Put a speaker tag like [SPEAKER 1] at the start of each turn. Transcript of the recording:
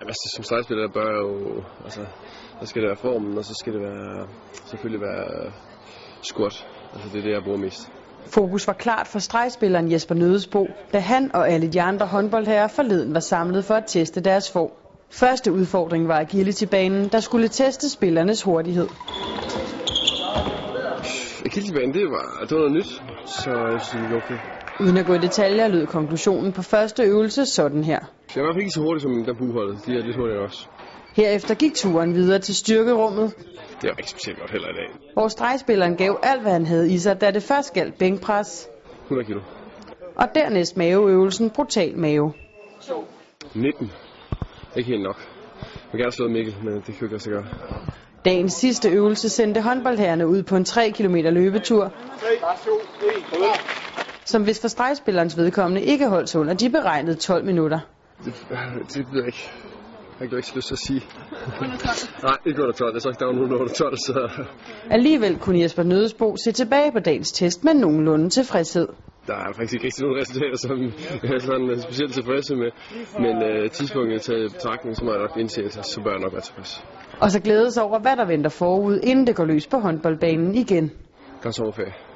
[SPEAKER 1] Altså, som stregspiller bør jeg jo... Altså, der skal det være formen, og så skal det være, selvfølgelig være øh, squat. Altså, det er det, jeg bruger mest.
[SPEAKER 2] Fokus var klart for stregspilleren Jesper Nødesbo, da han og alle de andre håndboldherrer forleden var samlet for at teste deres form. Første udfordring var agility-banen, der skulle teste spillernes hurtighed.
[SPEAKER 1] Agility-banen, det var, det var noget nyt, så jeg synes, det var okay.
[SPEAKER 2] Uden at gå i detaljer lød konklusionen på første øvelse sådan her.
[SPEAKER 1] Jeg var i hvert fald ikke så hurtig som dem på uholdet. De er lidt hurtigere end os.
[SPEAKER 2] Herefter gik turen videre til styrkerummet,
[SPEAKER 1] Det var ikke specielt godt heller i dag.
[SPEAKER 2] hvor stregspilleren gav alt, hvad han havde i sig, da det først galt bænkpres,
[SPEAKER 1] 100 kilo.
[SPEAKER 2] og dernæst maveøvelsen brutal mave.
[SPEAKER 1] 19. Ikke helt nok. Jeg vil gerne slå Mikkel, men det kan jo ikke også gøre.
[SPEAKER 2] Dagens sidste øvelse sendte håndboldherrerne ud på en 3 km løbetur, som hvis for stregspillerens vedkommende ikke holdt sig under de beregnede 12 minutter.
[SPEAKER 1] Det, øh, det ved jeg ikke. Jeg har ikke så lyst til at sige. Nej, ikke under 12. Jeg tror ikke, der var nogen under 12, så...
[SPEAKER 2] Alligevel kunne Jesper Nødesbo se tilbage på dagens test med nogenlunde tilfredshed.
[SPEAKER 1] Der er faktisk ikke rigtig nogen resultater, som jeg er sådan øh, specielt tilfredse med. Men øh, tidspunktet til betragtning, så må jeg nok indse, at så bør jeg nok være tilfreds.
[SPEAKER 2] Og så glædes over, hvad der venter forud, inden det går løs på håndboldbanen igen.
[SPEAKER 1] Godt sommerferie.